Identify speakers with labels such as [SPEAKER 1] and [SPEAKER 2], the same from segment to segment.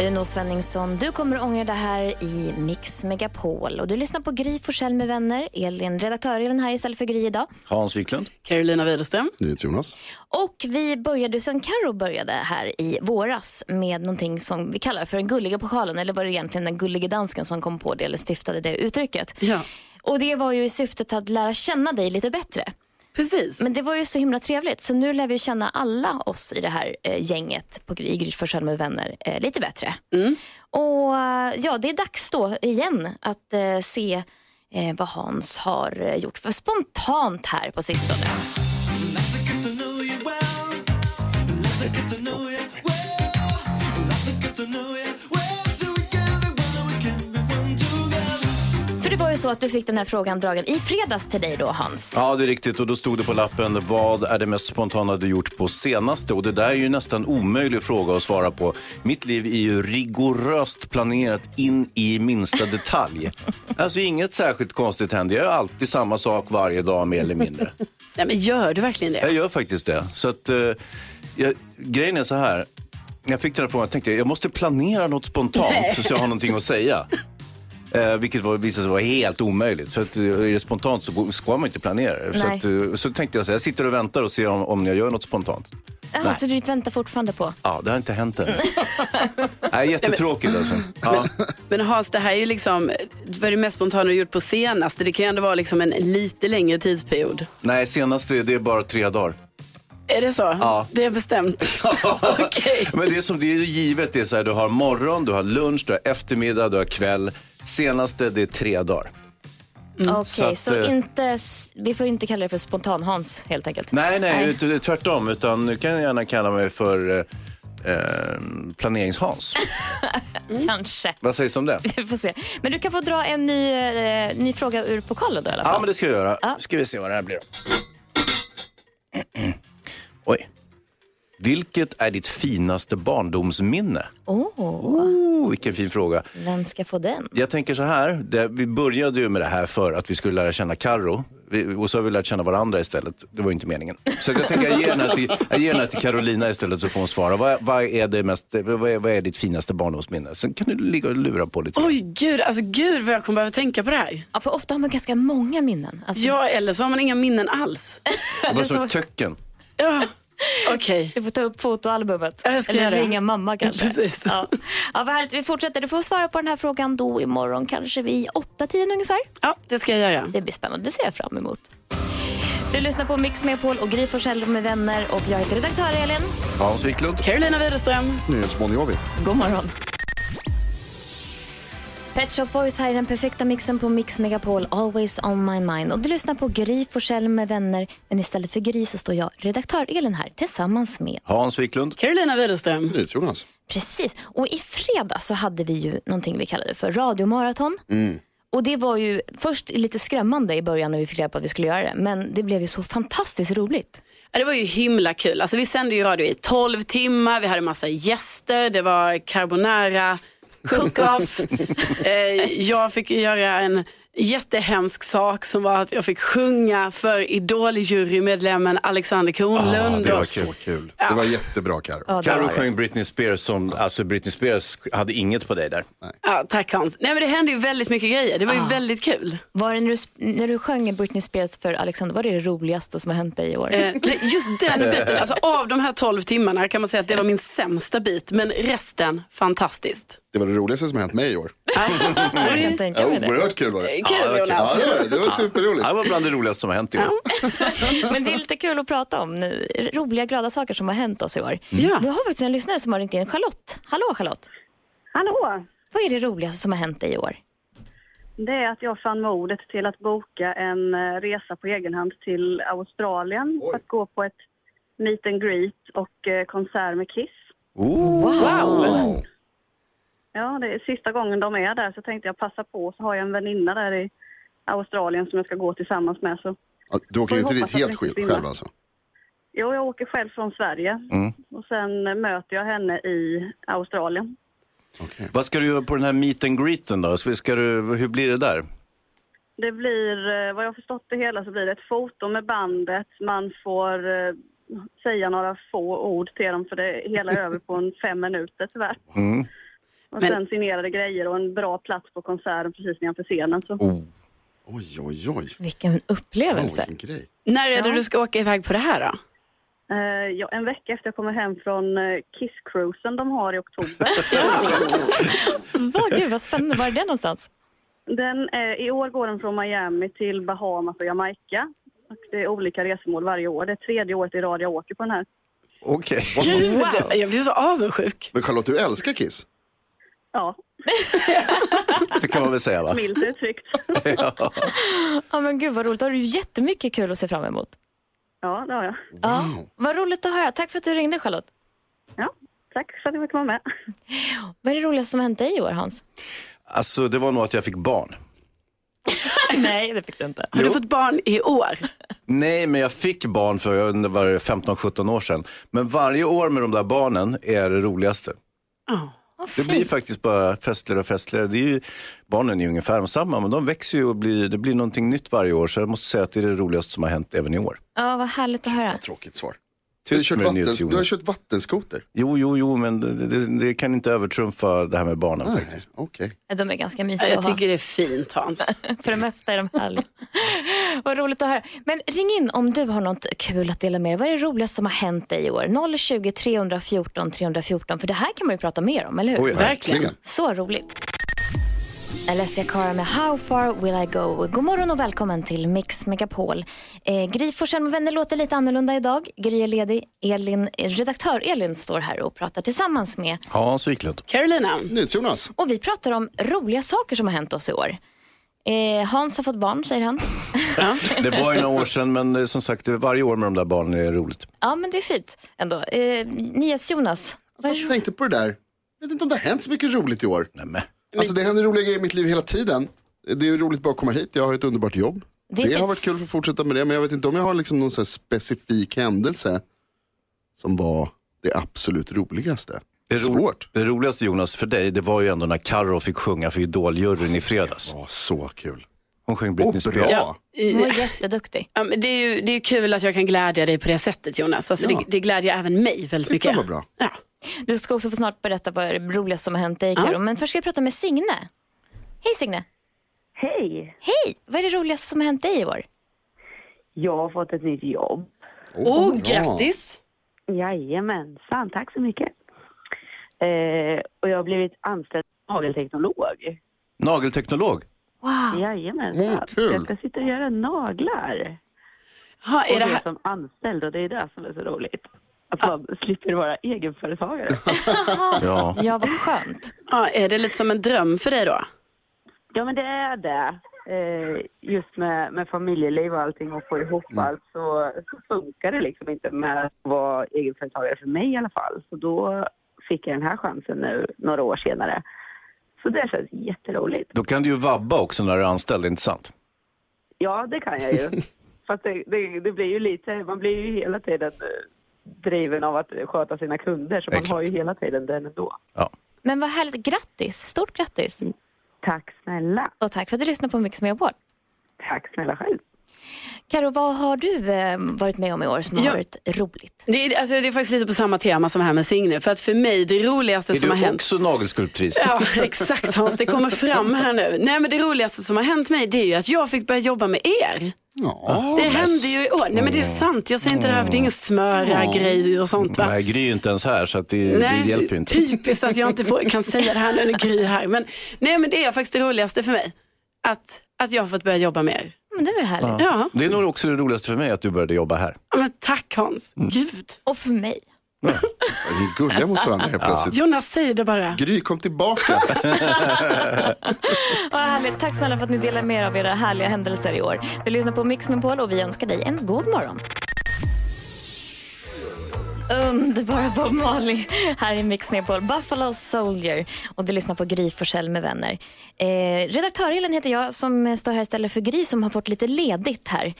[SPEAKER 1] Uno Svenningsson, du kommer ångra det här i Mix Megapol. Och du lyssnar på Gry Forssell med vänner. Elin, redaktör Elin här istället för Gry idag.
[SPEAKER 2] Hans Wiklund.
[SPEAKER 3] Carolina Widerström.
[SPEAKER 4] Jonas.
[SPEAKER 1] Och vi började, sen Karo började här i våras med någonting som vi kallar för den gulliga pokalen. Eller var det egentligen den gulliga dansken som kom på det eller stiftade det uttrycket.
[SPEAKER 3] Ja.
[SPEAKER 1] Och det var ju i syftet att lära känna dig lite bättre.
[SPEAKER 3] Precis.
[SPEAKER 1] Men det var ju så himla trevligt. Så nu lär vi känna alla oss i det här eh, gänget på Gry i Gry Forssell med vänner eh, lite bättre. Och eh, ja, det är dags då igen att eh, se eh, vad Hans har eh, gjort för spontant här på sistone. För det var ju så att du fick den här frågan dragen i fredags till dig då Hans.
[SPEAKER 2] Ja, det är riktigt. Och då stod det på lappen, vad är det mest spontana du gjort på senaste? Och det där är ju nästan omöjlig fråga att svara på. Mitt liv är ju rigoröst planerat in i minsta detalj. alltså inget särskilt konstigt händer. Jag gör alltid samma sak varje dag mer eller mindre.
[SPEAKER 3] Nej, men gör du verkligen det?
[SPEAKER 2] Jag gör faktiskt det. Så att, eh, jag, grejen är så här. När jag fick den här frågan jag tänkte jag jag måste planera något spontant
[SPEAKER 3] Nej.
[SPEAKER 2] så jag har någonting att säga. Eh, vilket var, visade sig vara helt omöjligt. Så att, eh, är det spontant så går- ska man inte planera det. Så,
[SPEAKER 1] Nej.
[SPEAKER 2] att, eh, så tänkte jag så här, jag sitter och väntar och ser om, om jag gör något spontant.
[SPEAKER 1] Jaha, så du väntar fortfarande på?
[SPEAKER 2] Ja, det har inte hänt än. Nej, jättetråkigt alltså. Ja.
[SPEAKER 3] Men Hans, det här är ju liksom, vad är det mest spontana du gjort på senaste? Det kan ju ändå vara liksom en lite längre tidsperiod.
[SPEAKER 2] Nej, senast det, det är bara tre dagar.
[SPEAKER 3] Är det så? Ja. Det är bestämt. Okej.
[SPEAKER 2] Men det är som det är givet, det är så här, du har morgon, du har lunch, du har eftermiddag, du har kväll. Senaste, det är tre dagar.
[SPEAKER 1] Okej,
[SPEAKER 2] Så
[SPEAKER 1] så,
[SPEAKER 2] att, eh,
[SPEAKER 1] inte, s- vi får inte kalla det för spontan-Hans helt enkelt.
[SPEAKER 2] Nej, nej, Ut, tvärtom. Utan nu kan jag gärna kalla mig för eh, eh, planeringshans.
[SPEAKER 1] Kanske.
[SPEAKER 2] Vad sägs om det?
[SPEAKER 1] Vi får se. Men du kan få dra en ny, eh, ny fråga ur pokalen då i alla fall.
[SPEAKER 2] Ja, men det ska jag göra. ska vi se vad det här blir. Oj. Vilket är ditt finaste barndomsminne?
[SPEAKER 1] Åh,
[SPEAKER 2] Oh, vilken fin fråga.
[SPEAKER 1] vem ska få den?
[SPEAKER 2] Jag tänker så här, det, vi började ju med det här för att vi skulle lära känna Karo Vi- och så har vi lärt känna varandra istället. Det var ju inte meningen. Så jag tänker jag ger den här till, jag ger den här till Carolina istället så får hon svara. Vad, vad, är, det mest, vad, är, vad är ditt finaste barndomsminne? Sen kan du ligga och lura på lite.
[SPEAKER 3] Oj, gud, alltså, gud vad jag kommer behöva tänka på det här.
[SPEAKER 1] Ja, för ofta har man ganska många minnen. Alltså,
[SPEAKER 3] Ja, eller så har man inga minnen alls.
[SPEAKER 2] Vad
[SPEAKER 3] alltså-
[SPEAKER 2] sa du? Töcken?
[SPEAKER 3] Ja. Okej.
[SPEAKER 1] Du får ta upp fotoalbumet.
[SPEAKER 3] Ja, jag ska
[SPEAKER 1] Eller
[SPEAKER 3] göra det.
[SPEAKER 1] ringa mamma kanske.
[SPEAKER 3] Precis.
[SPEAKER 1] Ja. Ja, vad härligt. Vi fortsätter. Du får svara på den här frågan då imorgon kanske vid 8-10 ungefär.
[SPEAKER 3] Ja, det ska jag göra.
[SPEAKER 1] Det blir spännande. Det ser jag fram emot. Du lyssnar på Mix Megapol och Gry Forssell med vänner och jag heter redaktör Elin.
[SPEAKER 2] Hans Wiklund?
[SPEAKER 3] Carolina Widerström.
[SPEAKER 4] Nyhetsmoniavi.
[SPEAKER 1] God morgon. Pet Shop Boys här i den perfekta mixen på Mix Megapol, Always on my mind. Och du lyssnar på Gry Forssell med vänner, men istället för Gry så står jag, redaktör Elin här, tillsammans med
[SPEAKER 2] Hans Wiklund?
[SPEAKER 3] Carolina Widerström.
[SPEAKER 4] Nyhetsjonas.
[SPEAKER 1] Precis. Och i fredag så hade vi ju någonting vi kallade för radiomaraton. Och det var ju först lite skrämmande i början när vi fick reda på att vi skulle göra det. Men det blev ju så fantastiskt roligt.
[SPEAKER 3] Ja, det var ju himla kul. Alltså, vi sände ju radio i 12 timmar, vi hade massa gäster, det var carbonara, cook-off. eh, jag fick ju göra en jättehemsk sak som var att jag fick sjunga för Idol-jurymedlemmen Alexander Kronlund.
[SPEAKER 4] Ah, det var
[SPEAKER 3] Och-
[SPEAKER 4] kul. kul. Det var jättebra Carro.
[SPEAKER 1] Ja, det
[SPEAKER 2] Carro
[SPEAKER 1] var det.
[SPEAKER 2] sjöng Britney Spears som, alltså Britney Spears hade inget på dig där.
[SPEAKER 3] Ja, tack Hans. Nej, men det hände ju väldigt mycket grejer, det var ju
[SPEAKER 4] Ah.
[SPEAKER 3] väldigt kul.
[SPEAKER 1] Var det när, du, sp- när du sjöng Britney Spears för Alexander, var det det roligaste som har hänt dig i år?
[SPEAKER 3] Eh, nej, Just den biten, alltså av de här 12 timmarna kan man säga att det var min sämsta bit, men resten fantastiskt.
[SPEAKER 4] Det var det roligaste som har hänt mig i år.
[SPEAKER 1] Jag kan tänka
[SPEAKER 4] Ja,
[SPEAKER 1] mig det.
[SPEAKER 4] oerhört kul var det.
[SPEAKER 3] Kul Jonas.
[SPEAKER 4] Ja, det var, det. det var superroligt.
[SPEAKER 2] Det var bland det roligaste som har hänt i år.
[SPEAKER 1] Men det är lite kul att prata om nu. Roliga, glada saker som har hänt oss i år.
[SPEAKER 3] Ja.
[SPEAKER 1] Vi har faktiskt en lyssnare som har ringt in. Charlotte. Hallå Charlotte.
[SPEAKER 5] Hallå!
[SPEAKER 1] Vad är det roligaste som har hänt dig i år?
[SPEAKER 5] det är att jag fann modet till att boka en eh, resa på egen hand till Australien för att gå på ett meet and greet och eh, konsert med Kiss.
[SPEAKER 2] Oh.
[SPEAKER 4] Wow.
[SPEAKER 5] Ja, det är sista gången de är där så tänkte jag passa på så har jag en väninna där i Australien som jag ska gå tillsammans med. Så.
[SPEAKER 4] Ja, Du åker ju
[SPEAKER 5] Får
[SPEAKER 4] inte
[SPEAKER 5] vi
[SPEAKER 4] dit
[SPEAKER 5] hoppas att
[SPEAKER 4] helt
[SPEAKER 5] det
[SPEAKER 4] själv,
[SPEAKER 5] försvinner.
[SPEAKER 4] själv alltså? Mm.
[SPEAKER 5] Jo, jag åker själv från Sverige och sen eh, möter jag henne i Australien.
[SPEAKER 4] Okej.
[SPEAKER 2] Vad ska du göra på den här meet and greeten då? Så Ska du, hur blir det där?
[SPEAKER 5] Det blir, eh, vad jag har förstått det hela, så blir det ett foto med bandet. Man får eh, säga några få ord till dem, för det hela är över på en fem minuter tyvärr. Och
[SPEAKER 3] Men-
[SPEAKER 5] sen signerade grejer och en bra plats på konserten precis nedanför scenen. Så.
[SPEAKER 4] Oj, oj, oj.
[SPEAKER 1] Vilken
[SPEAKER 4] Wow,
[SPEAKER 1] upplevelse.
[SPEAKER 4] vilken grej.
[SPEAKER 3] När är det du ska åka iväg på det här då?
[SPEAKER 5] Eh, ja, en vecka efter jag kommer hem från eh, Kiss-cruisen de har i oktober.
[SPEAKER 1] Vad, gud, vad spännande. Var är det någonstans?
[SPEAKER 5] den, eh, I år går den från Miami till Bahamas och Jamaica. Och det är olika resmål varje år. Det är tredje året i rad jag åker på den här.
[SPEAKER 2] Okej.
[SPEAKER 3] Gud, jag blir så avundsjuk.
[SPEAKER 4] Men Charlotte, du älskar Kiss?
[SPEAKER 5] Ja,
[SPEAKER 2] Det kan man väl säga va?
[SPEAKER 5] milt uttryckt.
[SPEAKER 1] Ja, men gud vad roligt. Då har du jättemycket kul att se fram emot.
[SPEAKER 5] ja, det har jag.
[SPEAKER 1] Ja, vad roligt att höra. Tack för att du ringde Charlotte.
[SPEAKER 5] Ja, tack för att jag fick vara med.
[SPEAKER 1] Vad är det roligaste som har hänt dig i år Hans?
[SPEAKER 2] Alltså det var nog att jag fick barn.
[SPEAKER 1] Nej, det fick du inte.
[SPEAKER 3] Har du fått barn i år?
[SPEAKER 2] Nej, men jag fick barn för jag undrar, var det 15-17 år sedan. Men varje år med de där barnen är det roligaste.
[SPEAKER 3] Ja.
[SPEAKER 2] Det blir faktiskt bara festligare och festligare. Det är ju, barnen är ju ungefär samma, men de växer ju och blir, det blir någonting nytt varje år. Så jag måste säga att det är det roligaste som har hänt även i år.
[SPEAKER 1] Ja, vad härligt att höra.
[SPEAKER 4] Tråkigt svar. Du har,
[SPEAKER 2] Tyst
[SPEAKER 4] kört
[SPEAKER 2] med
[SPEAKER 4] vatten,
[SPEAKER 2] Nils
[SPEAKER 4] du har
[SPEAKER 2] Jonas.
[SPEAKER 4] kört vattenskoter?
[SPEAKER 2] Jo, jo, jo, men det, det, det kan inte övertrumfa det här med barnen
[SPEAKER 4] Nej,
[SPEAKER 2] faktiskt.
[SPEAKER 4] Okej.
[SPEAKER 1] De är ganska mysiga
[SPEAKER 3] Jag
[SPEAKER 1] att ha.
[SPEAKER 3] tycker det är fint Hans.
[SPEAKER 1] För det mesta är de härliga. Vad roligt att höra. Men ring in om du har något kul att dela med dig. Vad är det roligaste som har hänt dig i år? 020 314 314. För det här kan man ju prata mer om, eller hur?
[SPEAKER 2] Oj,
[SPEAKER 3] Verkligen.
[SPEAKER 1] Så roligt. Alessia Cara med How far will I go? God morgon och välkommen till Mix Megapol. Eh, Gry Forssell med vänner låter lite annorlunda idag. Gry är ledig. Elin, eh, redaktör Elin står här och pratar tillsammans med
[SPEAKER 2] Hans Wiklund.
[SPEAKER 3] Carolina,
[SPEAKER 4] NyhetsJonas.
[SPEAKER 1] och vi pratar om roliga saker som har hänt oss i år. Eh, Hans har fått barn, säger han.
[SPEAKER 2] Det var ju några år sedan, men eh, som sagt, det- varje år med de där barnen är det roligt.
[SPEAKER 1] Ja, men det är fint ändå. Eh, NyhetsJonas.
[SPEAKER 4] Alltså, jag tänkte på det där. Jag vet inte om det har hänt så mycket roligt i år.
[SPEAKER 2] Nej, men.
[SPEAKER 4] Alltså det händer roliga grejer i mitt liv hela tiden. Det är roligt bara att komma hit, jag har ett underbart jobb.
[SPEAKER 1] Det
[SPEAKER 4] Det,
[SPEAKER 1] är fint.
[SPEAKER 4] har varit kul för att fortsätta med det, men jag vet inte om jag har liksom någon så här specifik händelse som var det absolut roligaste. Det är
[SPEAKER 2] ro-
[SPEAKER 4] Svårt.
[SPEAKER 2] Det roligaste Jonas för dig, det var ju ändå när Karo fick sjunga för
[SPEAKER 3] Alltså,
[SPEAKER 2] Idol-juryn i fredags.
[SPEAKER 4] Ja, så kul.
[SPEAKER 2] Hon sjöng
[SPEAKER 4] Och
[SPEAKER 2] Britney Spears.
[SPEAKER 4] bra.
[SPEAKER 1] Hon var jätteduktig.
[SPEAKER 3] ja, men det är ju det är kul att jag kan glädja dig på det sättet Jonas. Alltså,
[SPEAKER 4] Ja.
[SPEAKER 3] det, det glädjer även mig väldigt mycket.
[SPEAKER 4] vad bra.
[SPEAKER 3] Ja.
[SPEAKER 1] Du ska också få snart berätta vad det roligaste som har hänt dig,
[SPEAKER 3] Ja.
[SPEAKER 1] Karo. Men först ska jag prata med Signe. Hej Signe.
[SPEAKER 6] Hej!
[SPEAKER 1] Hej! Vad är det roligaste som har hänt dig i år?
[SPEAKER 6] Jag har fått ett nytt jobb.
[SPEAKER 3] Och
[SPEAKER 4] bra.
[SPEAKER 3] grattis!
[SPEAKER 6] Jajamensan, tack så mycket. Eh, och jag har blivit anställd som nagelteknolog.
[SPEAKER 2] Nagelteknolog.
[SPEAKER 3] Ah.
[SPEAKER 1] Wow.
[SPEAKER 6] Jajamensan.
[SPEAKER 4] Mm, kul.
[SPEAKER 6] Jag ska sitta och göra naglar.
[SPEAKER 3] Ha,
[SPEAKER 6] och
[SPEAKER 3] är det
[SPEAKER 6] det
[SPEAKER 3] här,
[SPEAKER 6] som anställd och det är det som är så roligt. Att man slipper vara egenföretagare.
[SPEAKER 2] Ja.
[SPEAKER 1] Ja, vad skönt.
[SPEAKER 3] ja, är det lite som en dröm för dig då?
[SPEAKER 6] ja men det är det. Eh, just med, med familjeliv och allting och få ihop allt så, så funkar det liksom inte med att vara egenföretagare för mig i alla fall. Så då fick jag den här chansen nu några år senare. Så det känns jätteroligt.
[SPEAKER 2] Då kan du ju vabba också när du är anställd, inte sant?
[SPEAKER 6] Ja, det kan jag ju. Fast det, det, det blir ju lite, man blir ju hela tiden eh, driven av att sköta sina kunder så man
[SPEAKER 2] Exakt.
[SPEAKER 6] har ju hela tiden den ändå.
[SPEAKER 2] Ja.
[SPEAKER 1] Men vad härligt. Grattis. Stort grattis.
[SPEAKER 3] Mm.
[SPEAKER 6] Tack snälla.
[SPEAKER 1] Och tack för att du lyssnade på Mix Megapol.
[SPEAKER 6] Tack snälla själv.
[SPEAKER 1] Karo, vad har du eh, varit med om i år som har
[SPEAKER 3] Ja.
[SPEAKER 1] varit roligt?
[SPEAKER 3] Det är, alltså, det är faktiskt lite på samma tema som här med Signe. För att för mig, det roligaste
[SPEAKER 2] Är
[SPEAKER 3] som har
[SPEAKER 2] du
[SPEAKER 3] hänt...
[SPEAKER 2] också nagelskulptris?
[SPEAKER 3] Ja, exakt Hans. Det kommer fram här nu. Nej, men det roligaste som har hänt mig det är ju att jag fick börja jobba med er.
[SPEAKER 4] Ja.
[SPEAKER 3] Det hände ju i år. Nej, men det är sant. Jag säger inte det här för det är ingen smöra grej och sånt. Va?
[SPEAKER 2] Nej, Gry är ju inte ens här, så att det, det hjälper ju inte.
[SPEAKER 3] Typiskt att jag inte får, kan säga det här när det är Gry här. Men, nej, men det är faktiskt det roligaste för mig. Att, att jag har fått börja jobba med er.
[SPEAKER 1] Men det var härligt.
[SPEAKER 3] Ja,
[SPEAKER 2] Det är nog också det roligaste för mig att du började jobba här.
[SPEAKER 3] men tack Hans. Gud.
[SPEAKER 1] Och för mig.
[SPEAKER 4] Ni är gulliga mot varandra helt plötsligt.
[SPEAKER 3] Jonas, säg det bara.
[SPEAKER 4] Gry, kom tillbaka.
[SPEAKER 1] Vad härligt. Tack snälla för att ni delar med er av era härliga händelser i år. Du lyssnar på Mix med Paul och vi önskar dig en god morgon. Underbara Bob Marley här i Mix med Paul, Buffalo Soldier. Och du lyssnar på Gry Forssell med vänner. Eh, redaktör Elin heter jag som står här istället för Gry som har fått lite ledigt här.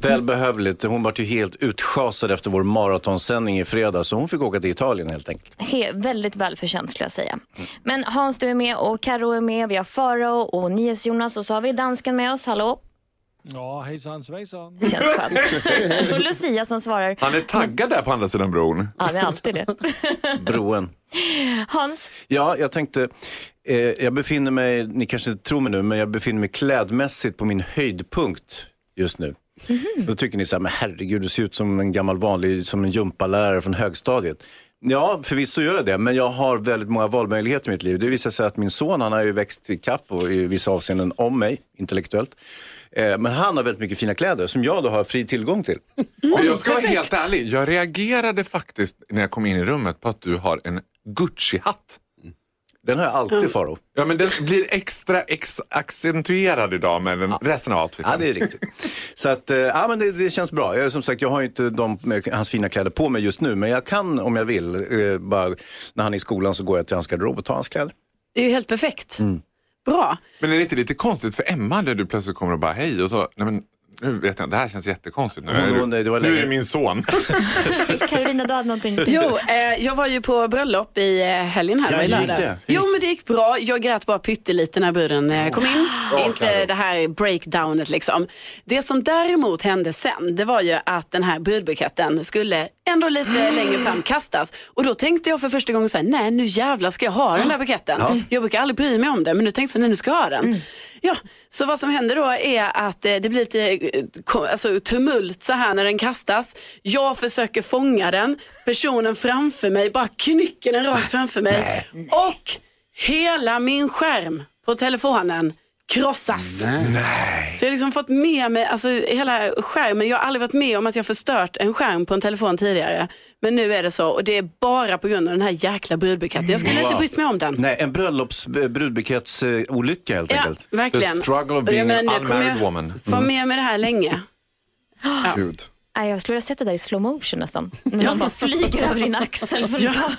[SPEAKER 2] Välbehövligt. Hon var ju helt utschasad efter vår maratonsändning i fredags. Så hon fick åka till Italien helt enkelt.
[SPEAKER 1] He, väldigt välförtjänt skulle jag säga. Men Hans du är med och Karo är med. Vi har Farao och Jonas och så har vi dansken med oss. Hallå,
[SPEAKER 7] Ja, hejsan svejsan.
[SPEAKER 1] känns skönt. Och Lucia som svarar.
[SPEAKER 8] Han är taggad där på andra sidan bron.
[SPEAKER 2] Mm,
[SPEAKER 1] Ja, det är alltid det.
[SPEAKER 2] Broen.
[SPEAKER 1] Hans,
[SPEAKER 2] Ja, jag tänkte, eh, jag befinner mig, ni kanske inte tror mig nu, men jag befinner mig klädmässigt på min höjdpunkt just nu. Då tycker ni så här, men herregud, du ser ut som en gammal vanlig, som en gympalärare från högstadiet. Ja, förvisso gör jag det, men jag har väldigt många valmöjligheter i mitt liv. Det visar sig att min son, han har ju växt i kapp och i vissa avseenden om mig, intellektuellt. Eh, Men han har väldigt mycket fina kläder som jag då har fri tillgång till.
[SPEAKER 8] Men jag ska vara helt ärlig, jag reagerade faktiskt när jag kom in i rummet på att du har en Gucci-hatt.
[SPEAKER 2] Den har jag alltid, Faro.
[SPEAKER 8] Ja, men den blir extra ex accentuerad idag med den, resten av outfiten.
[SPEAKER 2] Ja, det är riktigt. Så att, eh, ja, men det, det känns bra. Jag, som sagt, jag har ju inte de, med hans fina kläder på mig just nu, men jag kan om jag vill. Eh, bara, när han är i skolan så går jag till hans garderob och tar hans kläder.
[SPEAKER 3] Det är ju helt perfekt.
[SPEAKER 2] Mm.
[SPEAKER 3] Bra.
[SPEAKER 8] Men är det inte lite konstigt för Emma när du plötsligt kommer och bara hej och så, nej men nu vet jag, det här känns jättekonstigt. Nu,
[SPEAKER 2] Hon-
[SPEAKER 8] är,
[SPEAKER 2] hon- det var
[SPEAKER 8] nu
[SPEAKER 2] länge-
[SPEAKER 8] är det min son.
[SPEAKER 1] Karolina du hade någonting.
[SPEAKER 3] Jo, eh, jag var ju på bröllop i eh, helgen här,
[SPEAKER 2] Ja,
[SPEAKER 3] ja, i
[SPEAKER 2] hur gick
[SPEAKER 3] lördags.
[SPEAKER 2] det? Hur
[SPEAKER 3] Jo, men det gick bra. Jag grät bara pyttelite när bruden eh, kom in.
[SPEAKER 2] Ah.
[SPEAKER 3] Inte det här breakdownet liksom. Det som däremot hände sen, det var ju att den här brudbuketten skulle ändå lite längre fram kastas. Och då tänkte jag för första gången så här, nej nu jävlar ska jag ha
[SPEAKER 2] Ah.
[SPEAKER 3] den där buketten. Jag brukar aldrig bry mig om det, men nu tänkte jag, nej nu ska jag ha den. Ja, så vad som händer då är att eh, det blir lite eh, ko- alltså, tumult så här när den kastas. Jag försöker fånga den. Personen framför mig bara knycker den rakt framför mig. Och hela min skärm på telefonen krossas. Så jag har liksom fått med mig alltså, hela skärmen. Jag har aldrig varit med om att jag förstört en skärm på en telefon tidigare. Men nu är det så och det är bara på grund av den här jäkla brudbuketten. Jag skulle inte brytt mig om den.
[SPEAKER 2] Nej, en bröllops eh, brudbukettsolycka helt
[SPEAKER 3] Ja,
[SPEAKER 2] enkelt.
[SPEAKER 8] The
[SPEAKER 3] verkligen.
[SPEAKER 8] struggle of
[SPEAKER 3] Och
[SPEAKER 8] being
[SPEAKER 3] jag menar,
[SPEAKER 8] an
[SPEAKER 3] nu kommer
[SPEAKER 8] unmarried
[SPEAKER 3] jag-
[SPEAKER 8] woman. Mm.
[SPEAKER 3] Få med mig det här länge.
[SPEAKER 4] Gud.
[SPEAKER 1] Nej, jag skulle ha sett det där i slow motion nästan. När man bara flyger över din axel. För att ta.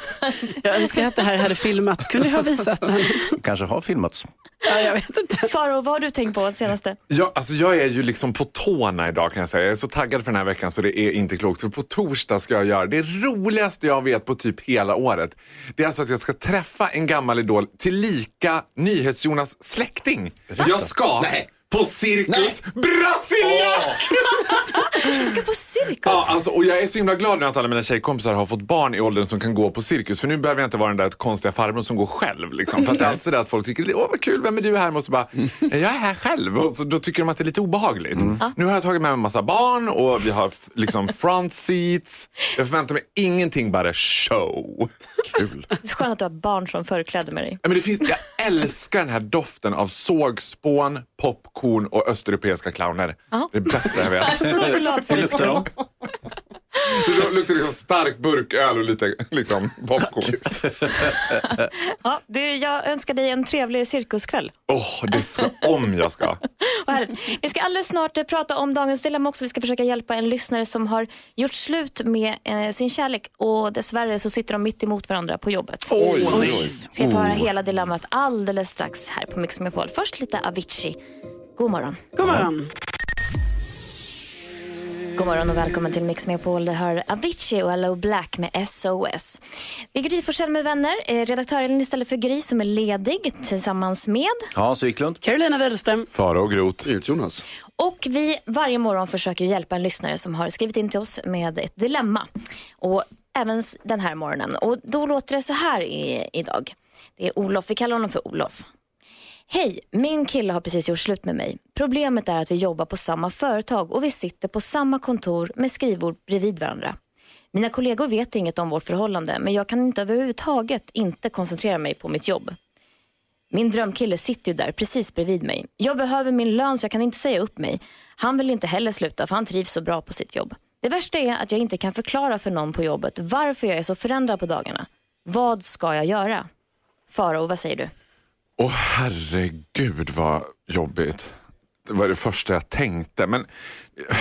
[SPEAKER 3] Jag önskar att det här hade filmats. Kunde jag ha visat den?
[SPEAKER 2] Kanske har filmats.
[SPEAKER 3] Ja, jag vet inte.
[SPEAKER 1] Faro, vad har du tänkt på senaste?
[SPEAKER 8] Ja, alltså jag är ju liksom på tårna idag kan jag säga. Jag är så taggad för den här veckan så det är inte klokt. För på torsdag ska jag göra det roligaste jag vet på typ hela året. Det är alltså att jag ska träffa en gammal idol tillika NyhetsJonas släkting. Jag ska på Cirkus Brasiliak!
[SPEAKER 1] Du ska på cirkus.
[SPEAKER 8] Ja, alltså, och jag är så himla glad nu att alla mina tjejkompisar har fått barn i åldern som kan gå på cirkus. För nu behöver jag inte vara den där konstiga farbrorn som går själv. Liksom. För att det är alltid sådär att folk tycker, åh vad kul, vem är du här? Och så bara, jag är här själv. Och så, då tycker de att det är lite obehagligt. Mm. Nu har jag tagit med mig en massa barn och vi har f- liksom front seats. Jag förväntar mig ingenting, bara show. Kul.
[SPEAKER 1] Det är skönt att du har barn som förkläder med dig.
[SPEAKER 8] Ja, Men det finns, jag älskar den här doften av sågspån, popcorn och östeuropeiska clowner. Det är det bästa jag vet.
[SPEAKER 1] Så glad för
[SPEAKER 2] Hur
[SPEAKER 1] det.
[SPEAKER 2] luktar de?
[SPEAKER 8] Det luktar liksom stark burköl och lite liksom, popcorn.
[SPEAKER 1] Ja, det, jag önskar dig en trevlig cirkuskväll.
[SPEAKER 8] Åh, det ska om jag ska.
[SPEAKER 1] Vad härligt. Vi ska alldeles snart eh, prata om dagens dilemma också. Vi ska försöka hjälpa en lyssnare som har gjort slut med eh, sin kärlek och dessvärre så sitter de mitt emot varandra på jobbet.
[SPEAKER 4] Oj, oj, oj.
[SPEAKER 1] Ska få höra hela dilemmat alldeles strax här på Mix Megapol. Först lite Avicii. God morgon.
[SPEAKER 3] God morgon.
[SPEAKER 1] God morgon och välkommen till Mix Megapol. Det hör Avicii och Hello Black med SOS. Det är Gry Forssell med vänner. Eh, Redaktör Elin istället för Gry som är ledig tillsammans med.
[SPEAKER 2] Hans Wiklund.
[SPEAKER 3] Carolina Widerström.
[SPEAKER 8] Fara och grot.
[SPEAKER 4] Jonas.
[SPEAKER 1] Och vi varje morgon försöker hjälpa en lyssnare som har skrivit in till oss med ett dilemma. Och även s- den här morgonen. Och då låter det så här i, idag. Det är Olof, vi kallar honom för Olof. Hej, min kille har precis gjort slut med mig. Problemet är att vi jobbar på samma företag och vi sitter på samma kontor med skrivbord bredvid varandra. Mina kollegor vet inget om vårt förhållande men jag kan inte överhuvudtaget inte koncentrera mig på mitt jobb. Min drömkille sitter ju där precis bredvid mig. Jag behöver min lön så jag kan inte säga upp mig. Han vill inte heller sluta för han trivs så bra på sitt jobb. Det värsta är att jag inte kan förklara för någon på jobbet varför jag är så förändrad på dagarna. Vad ska jag göra? Faro, vad säger du?
[SPEAKER 8] Åh herregud vad jobbigt. Det var det första jag tänkte. Men eh,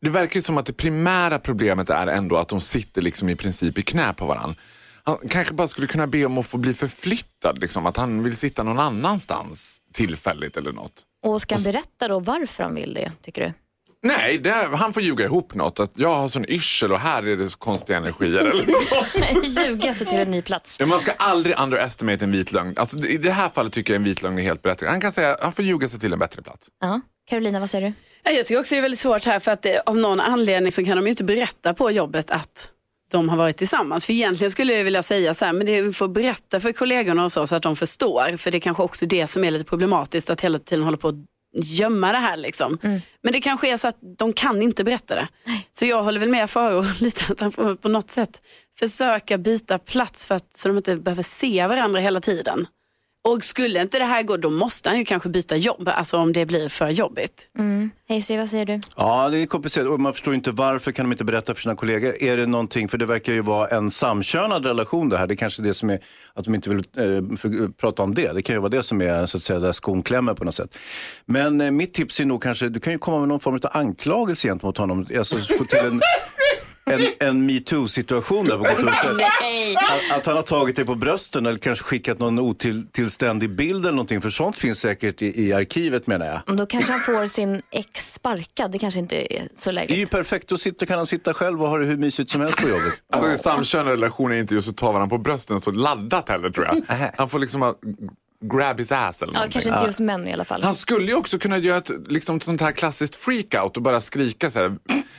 [SPEAKER 8] det verkar ju som att det primära problemet är ändå att de sitter liksom i princip i knä på varandra. Han kanske bara skulle kunna be om att få bli förflyttad. Liksom, att han vill sitta någon annanstans tillfälligt eller något.
[SPEAKER 1] Och ska han berätta då varför han vill det, tycker du?
[SPEAKER 8] Nej, det, han får ljuga ihop något. Att jag har sån yrsel och här är det så konstiga energier. Eller något.
[SPEAKER 1] Ljuga sig till en ny plats.
[SPEAKER 8] Ja, Man ska aldrig underestimate en vit lögn. Alltså, I det här fallet tycker jag en vit lögn är helt berättigad. Han kan säga han får ljuga sig till en bättre plats.
[SPEAKER 1] Ja. Carolina, vad säger du?
[SPEAKER 3] Ja, Jag tycker också det är väldigt svårt här för att det, av någon anledning så kan de ju inte berätta på jobbet att de har varit tillsammans. För egentligen skulle jag vilja säga så här, men det, vi får berätta för kollegorna och så, så att de förstår. För det är kanske också det som är lite problematiskt, att hela tiden hålla på att gömma det här. Liksom. Men det kanske är så att de kan inte berätta det. Så jag håller väl med Faro lite att han får på något sätt försöka byta plats för att, så de inte behöver se varandra hela tiden. Och skulle inte det här gå, då måste han ju kanske byta jobb, alltså om det blir för jobbigt.
[SPEAKER 1] Mm. Hazy, vad säger du?
[SPEAKER 2] Ja, det är komplicerat och man förstår inte varför kan de inte berätta för sina kollegor. Är det någonting, för det verkar ju vara en samkönad relation det här. Det är kanske är det som är, att de inte vill eh, för, prata om det. Det kan ju vara det som är så att säga där skon klämmer på något sätt. Men eh, mitt tips är nog kanske, du kan ju komma med någon form av anklagelse gentemot honom. Alltså få till en... En, en metoo-situation där på gott och ont.
[SPEAKER 1] Nej.
[SPEAKER 2] Att, att han har tagit dig på brösten eller kanske skickat någon otillständig bild eller någonting. För sånt finns säkert i, i arkivet menar jag.
[SPEAKER 1] Då kanske han får sin ex sparkad. Det kanske inte är
[SPEAKER 2] Det
[SPEAKER 1] så
[SPEAKER 2] är
[SPEAKER 1] lägligt.
[SPEAKER 2] ju perfekt, då sitter, kan han sitta själv och ha det hur mysigt som helst på jobbet.
[SPEAKER 8] Alltså, en samkönad relation är inte just att ta varandra på brösten så laddat heller tror jag. Han får liksom ha, grab his ass eller
[SPEAKER 1] Ja,
[SPEAKER 8] någonting.
[SPEAKER 1] kanske inte just män i alla fall.
[SPEAKER 8] Han skulle ju också kunna göra ett liksom, sånt här klassiskt freakout och bara skrika så här.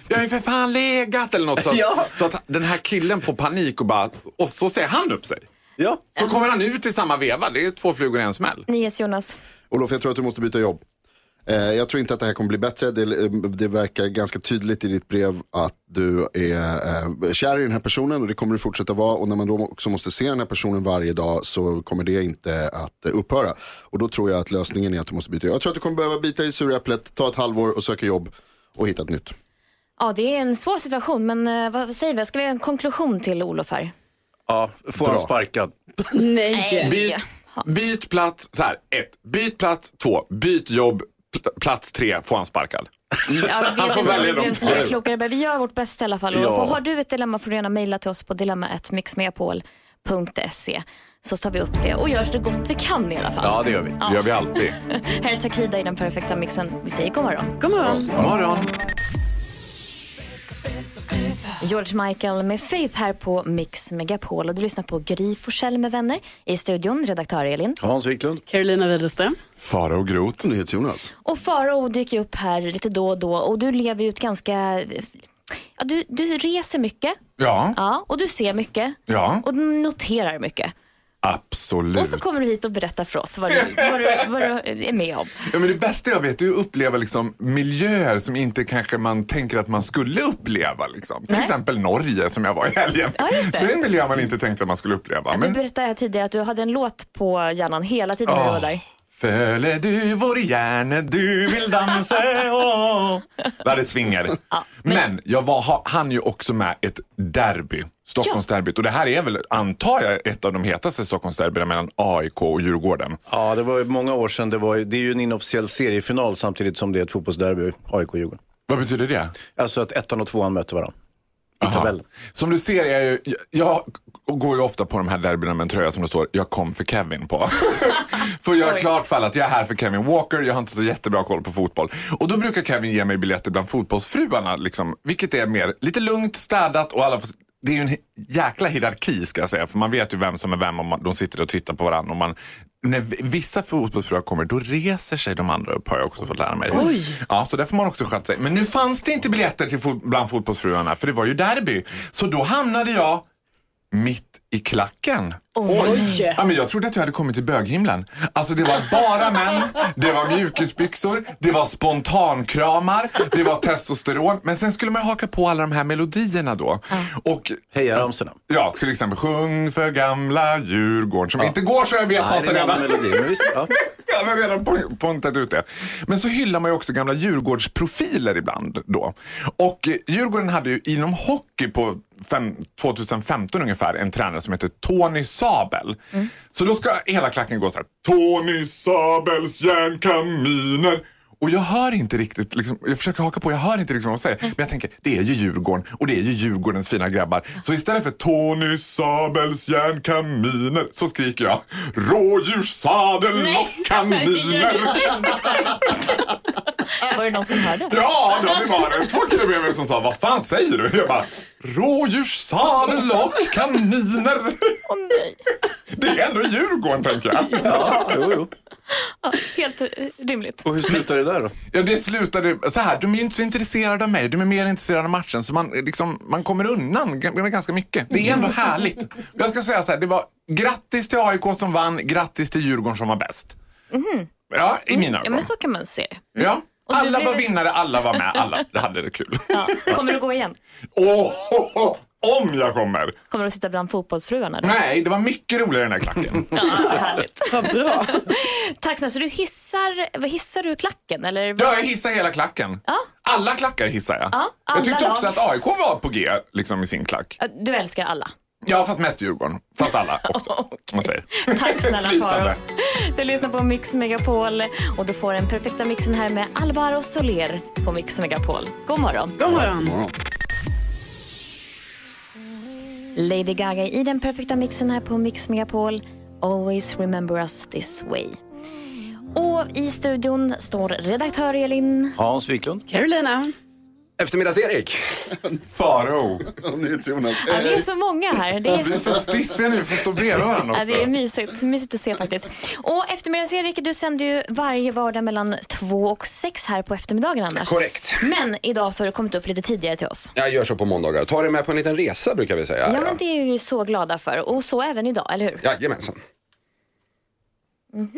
[SPEAKER 8] Jag har ju för fan legat eller något sånt.
[SPEAKER 2] Ja.
[SPEAKER 8] Så att den här killen får panik och bara, och så säger han upp sig.
[SPEAKER 2] Ja.
[SPEAKER 8] Så kommer han ut i samma veva. Det är två flugor i en smäll.
[SPEAKER 1] NyhetsJonas.
[SPEAKER 4] Olof, jag tror att du måste byta jobb. Eh, jag tror inte att det här kommer bli bättre. Det, eh, det verkar ganska tydligt i ditt brev att du är eh, kär i den här personen och det kommer du fortsätta vara. Och när man då också måste se den här personen varje dag så kommer det inte att eh, upphöra. Och då tror jag att lösningen är att du måste byta jobb. Jag tror att du kommer behöva bita i suräpplet, ta ett halvår och söka jobb och hitta ett nytt.
[SPEAKER 1] Ja, det är en svår situation, men eh, vad vad säger vi? Ska vi ha en konklusion till Olof här?
[SPEAKER 2] Ja, får han sparkad.
[SPEAKER 3] Nej.
[SPEAKER 8] Byt, byt plats, så här, ett, byt plats, två, byt jobb, pl- plats tre, får han sparkad.
[SPEAKER 1] Ja, vi
[SPEAKER 8] Han
[SPEAKER 1] vet
[SPEAKER 8] får
[SPEAKER 1] inte
[SPEAKER 8] välja
[SPEAKER 1] vem
[SPEAKER 8] dem
[SPEAKER 1] som är
[SPEAKER 8] själv.
[SPEAKER 1] klokare, men vi gör vårt bästa i alla fall.
[SPEAKER 8] Ja.
[SPEAKER 1] Olof. Och har du ett dilemma får du gärna mejla till oss på dilemma.mixmeapol.se så tar vi upp det och gör så gott vi kan i alla fall.
[SPEAKER 8] Ja, det gör vi. Det gör vi alltid.
[SPEAKER 1] Här är Takida i den perfekta mixen. Vi säger god morgon.
[SPEAKER 3] God morgon.
[SPEAKER 8] God morgon.
[SPEAKER 1] George Michael med Faith här på Mix Megapol och du lyssnar på Gry Forssell med vänner. I studion redaktör Elin.
[SPEAKER 2] Hans Wiklund.
[SPEAKER 3] Carolina Widerström.
[SPEAKER 8] Fara och grot.
[SPEAKER 4] Jonas.
[SPEAKER 1] Och Farao dyker upp här lite då och då och du lever ju ett ganska... Ja, du, du reser mycket
[SPEAKER 8] Ja,
[SPEAKER 1] ja, och du ser mycket
[SPEAKER 8] ja,
[SPEAKER 1] och du noterar mycket.
[SPEAKER 8] absolut.
[SPEAKER 1] Och så kommer du hit och berättar för oss vad du, vad du, vad du är med om.
[SPEAKER 8] Ja, men det bästa jag vet är att uppleva liksom miljöer som inte kanske man tänker att man skulle uppleva. Liksom. Till
[SPEAKER 1] Nej.
[SPEAKER 8] exempel Norge som jag var i helgen.
[SPEAKER 1] Ja, just det.
[SPEAKER 8] är en miljö man inte tänkte att man skulle uppleva.
[SPEAKER 1] Du
[SPEAKER 8] Men
[SPEAKER 1] berättade här tidigare att du hade en låt på hjärnan hela tiden när du var
[SPEAKER 8] Åh.
[SPEAKER 1] där.
[SPEAKER 8] Föle du vår hjärne, du vill dansa åh. Där det svingar. men... jag var, ha- hann ju också med ett derby. Stockholmsderbyt. Och det här är väl, antar jag, ett av de hetaste Stockholmsderbyna mellan AIK och Djurgården.
[SPEAKER 2] Ja, det var ju många år sedan. Det, var, ju- det är ju en inofficiell seriefinal samtidigt som det är ett fotbollsderby, AIK och Djurgården.
[SPEAKER 8] Vad betyder det?
[SPEAKER 2] Alltså att ettan och tvåan möter varandra.
[SPEAKER 8] Aha. Som du ser, jag, är ju, jag, jag går ju ofta på de här derbyna med en tröja som det står “Jag kom för Kevin” på. för att göra klart för alla att jag är här för Kevin Walker, jag har inte så jättebra koll på fotboll. Och då brukar Kevin ge mig biljetter bland fotbollsfruarna, liksom, vilket är mer lite lugnt, städat och alla får, det är ju en he- jäkla hierarki ska jag säga, för man vet ju vem som är vem om man, de sitter och tittar på varandra. Och man, när v- vissa fotbollsfruar kommer, då reser sig de andra upp har jag också fått lära mig.
[SPEAKER 3] Oj.
[SPEAKER 8] Ja, så där får man också sköta sig. Men nu fanns det inte biljetter till fot- bland fotbollsfruarna, för det var ju derby. Så då hamnade jag mitt i klacken.
[SPEAKER 3] Oj.
[SPEAKER 8] Ja, men jag trodde att jag hade kommit till böghimlen. Alltså det var bara män, det var mjukisbyxor, det var spontankramar, det var testosteron. Men sen skulle man haka på alla de här melodierna då. Och,
[SPEAKER 2] Hejaramsorna.
[SPEAKER 8] Ja, till exempel sjung för gamla Djurgården som inte går så jag vet
[SPEAKER 2] Nej,
[SPEAKER 8] Hasan
[SPEAKER 2] det är
[SPEAKER 8] redan.
[SPEAKER 2] en annan melodi, men visst, ja.
[SPEAKER 8] jag har redan pon- pontat ut det. Men så hyllar man ju också gamla Djurgårdsprofiler ibland då. Och eh, Djurgården hade ju inom hockey på fem, 2015 ungefär en tränare som hette Tony Sabel. Så då ska hela klacken gå så här. Tony Sabels järnkaminer. Och jag hör inte riktigt, liksom, jag försöker haka på, jag hör inte riktigt vad de säger. Men jag tänker, det är ju Djurgården och det är ju Djurgårdens fina grabbar. Så istället för Tony Sabels järnkaminer så skriker jag rådjurssadel och kaniner.
[SPEAKER 1] Var det någon som hörde?
[SPEAKER 8] Ja, då det var det två killar bredvid mig som sa, vad fan säger du? Jag bara, rådjurssadel och kaniner. Det är ändå Djurgården tänker jag.
[SPEAKER 2] Ja, jo, jo.
[SPEAKER 1] Ja, helt eh, rimligt.
[SPEAKER 2] Och hur slutade det där då?
[SPEAKER 8] Ja, det slutade så här. De är ju inte så intresserade av mig. De är mer intresserade av matchen. Så man, eh, liksom, man kommer undan g- med ganska mycket. Det är ändå härligt. Jag ska säga så här. Det var grattis till AIK som vann. Grattis till Djurgården som var bäst.
[SPEAKER 1] Mhm.
[SPEAKER 8] Ja, i mina
[SPEAKER 1] Ja,
[SPEAKER 8] ögon.
[SPEAKER 1] men så kan man se det.
[SPEAKER 8] Ja.
[SPEAKER 1] Och du
[SPEAKER 8] Alla
[SPEAKER 1] blev-
[SPEAKER 8] var vinnare, alla var med, alla hade det kul.
[SPEAKER 1] Ja. Kommer du gå igen?
[SPEAKER 8] Åh, ho, ho, om jag kommer!
[SPEAKER 1] Kommer du sitta bland fotbollsfruarna? då?
[SPEAKER 8] Nej, det var mycket roligare i den här klacken.
[SPEAKER 1] Ja, härligt. Vad bra. Tack snälla. Så du hissar, vad hissar du klacken? Eller vad?
[SPEAKER 8] Ja, jag hissar hela klacken. Alla klackar hissar jag.
[SPEAKER 1] Ja, alla
[SPEAKER 8] jag tyckte
[SPEAKER 1] lag.
[SPEAKER 8] också att AIK var på G liksom, i sin klack.
[SPEAKER 1] Ja, Äh, Du älskar alla.
[SPEAKER 8] Ja, fast mest Djurgården. Fast alla också. om man säger.
[SPEAKER 1] Tack snälla Karo.
[SPEAKER 8] Flytande.
[SPEAKER 1] Du lyssnar på Mix Megapol och du får den perfekta mixen här med Alvaro Soler på Mix Megapol. God morgon.
[SPEAKER 3] God morgon.
[SPEAKER 1] Lady Gaga i den perfekta mixen här på Mix Megapol. Always remember us this way. Och i studion står redaktör Elin.
[SPEAKER 2] Hans Wiklund.
[SPEAKER 3] Carolina.
[SPEAKER 9] Eftermiddags-Erik.
[SPEAKER 8] Faro.
[SPEAKER 4] Jonas.
[SPEAKER 1] Ja, vi är så många här. Det är
[SPEAKER 8] nu, får stå bredvid varandra
[SPEAKER 1] Ja, det är mysigt, mysigt att se faktiskt. Och eftermiddags-Erik, du sänder ju varje vardag mellan två och sex här på eftermiddagen annars.
[SPEAKER 9] Korrekt.
[SPEAKER 1] Men idag så har du kommit upp lite tidigare till oss.
[SPEAKER 9] Jag gör så på måndagar. Ta dig med på en liten resa brukar vi säga.
[SPEAKER 1] Ja, men det är vi så glada för. Och så även idag, eller hur?
[SPEAKER 9] Jajamensan. Mhm.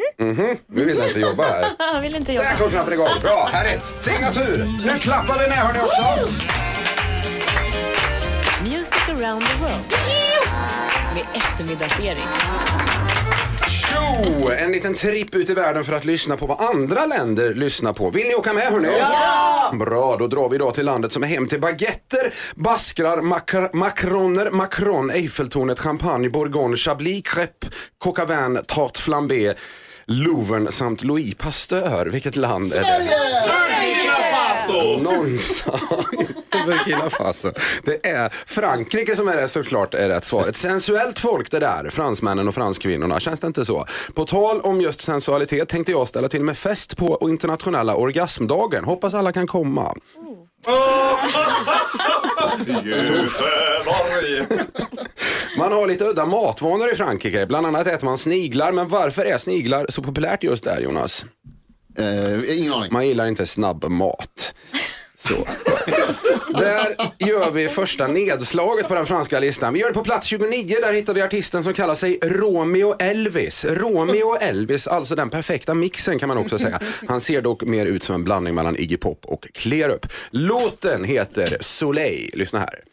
[SPEAKER 9] Nu vill jag inte jobba här.
[SPEAKER 1] Jag vill inte jobba.
[SPEAKER 9] Där kom knappen igång. Bra, härligt. Signatur. Nu klappar vi med hörni också.
[SPEAKER 10] Music around the world. Med eftermiddagsserie.
[SPEAKER 9] Tjo! En liten tripp ut i världen för att lyssna på vad andra länder lyssnar på. Vill ni åka med hörni? Ja! Bra, då drar vi idag till landet som är hem till baguetter, baskrar, makr- makroner, macron, Eiffeltornet, champagne, bourgogne, chablis, crêpe, coq à vin, tarte flambé, Louvren samt Louis Pasteur. Vilket land är det?
[SPEAKER 8] Burkina Faso!
[SPEAKER 9] Någon sa inte Burkina Faso. Det är Frankrike som är det såklart är rätt svar. Ett sensuellt folk det där, fransmännen och franskvinnorna. Känns det inte så? På tal om just sensualitet tänkte jag ställa till med fest på internationella orgasmdagen. Hoppas alla kan komma. Man har lite udda matvanor i Frankrike. Bland annat äter man sniglar. Men varför är sniglar så populärt just där Jonas?
[SPEAKER 4] Eh, ingen aning.
[SPEAKER 9] Man gillar inte snabbmat. Så. där gör vi första nedslaget på den franska listan. Vi gör det på plats 29. Där hittar vi artisten som kallar sig Romeo Elvis. Romeo Elvis, alltså den perfekta mixen kan man också säga. Han ser dock mer ut som en blandning mellan Iggy Pop och Clearup. Låten heter Soleil. Lyssna här.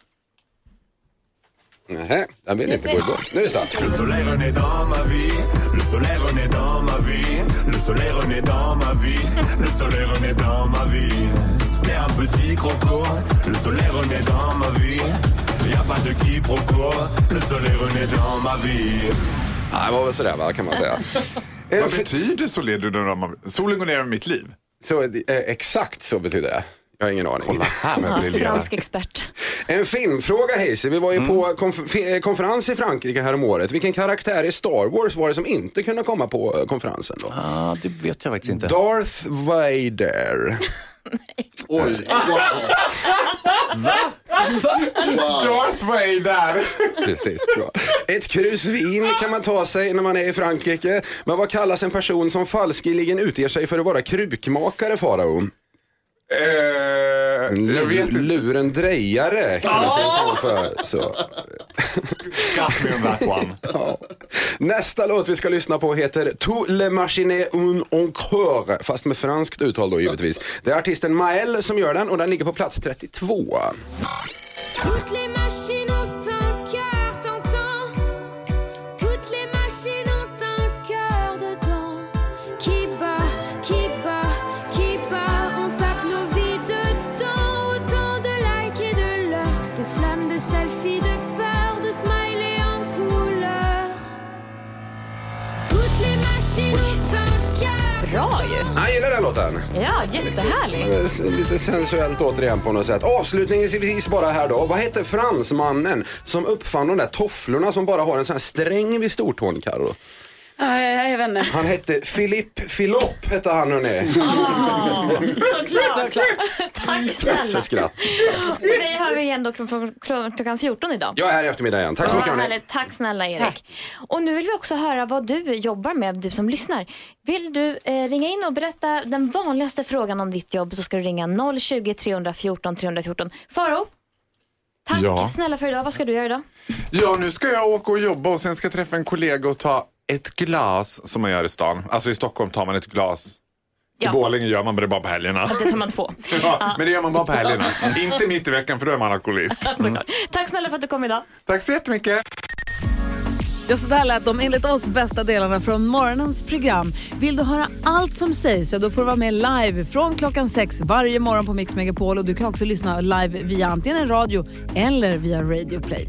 [SPEAKER 9] Nähä, den vill inte gå igång. Nu är det sant.
[SPEAKER 11] Le soleil renaît dans ma vie, le soleil renaît dans ma vie, le soleil renaît dans ma vie, le soleil renaît dans ma vie. T'es un petit croco, le soleil renaît dans ma vie, y a pas de quiproquo, le soleil renaît dans ma vie.
[SPEAKER 9] Ja, det var väl sådär va, kan man säga.
[SPEAKER 8] Vad betyder solen du när man... Solen går ner över mitt liv?
[SPEAKER 9] Så, eh, exakt så betyder det. Jag har ingen aning. Kolla här
[SPEAKER 1] Ja, fransk expert.
[SPEAKER 9] En filmfråga Hayes. Vi var
[SPEAKER 2] Mm.
[SPEAKER 9] ju på konf- fi- eh, konferens i Frankrike här om året. Vilken karaktär i Star Wars var det som inte kunde komma på eh, konferensen då?
[SPEAKER 2] Ah, det vet jag faktiskt inte.
[SPEAKER 9] Darth Vader. Oj.
[SPEAKER 8] Va? Darth Vader!
[SPEAKER 9] Precis, bra. Ett krusvin kan man ta sig när man är i Frankrike. Men vad kallas en person som falskeligen utger sig för att vara krukmakare, Farao?
[SPEAKER 8] Eh, jag vet inte.
[SPEAKER 9] Lurendrejare kallas en sån för. Så. Got me on that one. ja. Nästa låt vi ska lyssna på heter Tout le machiné un encore, fast med franskt uttal då givetvis. Det är artisten Mael som gör den och den ligger på plats 32.
[SPEAKER 12] Toutes les machines ont un cœur tentant. Toutes les machines ont un cœur dedans. Qui bat, qui bat, qui bat. On tape nos vies dedans. Autant de likes et de l'heure. De flammes, de selfies, de peur. De smileys en couleur. Toutes les machines ont un cœur.
[SPEAKER 1] Bra ju!
[SPEAKER 9] Han gillar den låten.
[SPEAKER 1] Ja, jättehärlig.
[SPEAKER 9] Eh, s- Lite sensuellt återigen på något sätt. Avslutningsvis bara här då. Vad heter fransmannen som uppfann de där tofflorna som bara har en sån här sträng vid stortån, Carro?
[SPEAKER 3] Nej, jag vet inte.
[SPEAKER 9] Han hette Philippe Philopp hette han hörni.
[SPEAKER 1] Såklart. Tack
[SPEAKER 9] Plats för
[SPEAKER 1] snälla.
[SPEAKER 9] skratt.
[SPEAKER 1] Och dig hör vi igen då från från klockan 14 idag.
[SPEAKER 9] Jag är här i eftermiddag igen. Tack så
[SPEAKER 1] Ja,
[SPEAKER 9] mycket hörni.
[SPEAKER 1] härligt. Tack snälla Erik. Och nu vill vi också höra vad du jobbar med, du som lyssnar. Vill du eh, ringa in och berätta den vanligaste frågan om ditt jobb så ska du ringa 020-314 314. Faro, tack
[SPEAKER 8] Ja.
[SPEAKER 1] snälla för idag. Vad ska du göra idag?
[SPEAKER 8] Ja, nu ska jag åka och jobba och sen ska jag träffa en kollega och ta ett glas som man gör i stan. Alltså i Stockholm tar man ett glas.
[SPEAKER 1] Ja.
[SPEAKER 8] I Borlänge gör man det bara på helgerna.
[SPEAKER 1] Ja, det tar man två.
[SPEAKER 8] Ja, men det gör man bara på helgerna. Inte mitt i veckan för då är man alkoholist.
[SPEAKER 1] Alltså. Tack snälla för att du kom idag.
[SPEAKER 8] Tack så jättemycket.
[SPEAKER 13] Ja, så där lät de enligt oss bästa delarna från morgonens program. Vill du höra allt som sägs så då får du vara med live från klockan sex varje morgon på Mix Megapol och du kan också lyssna live via antingen en radio eller via Radio Play.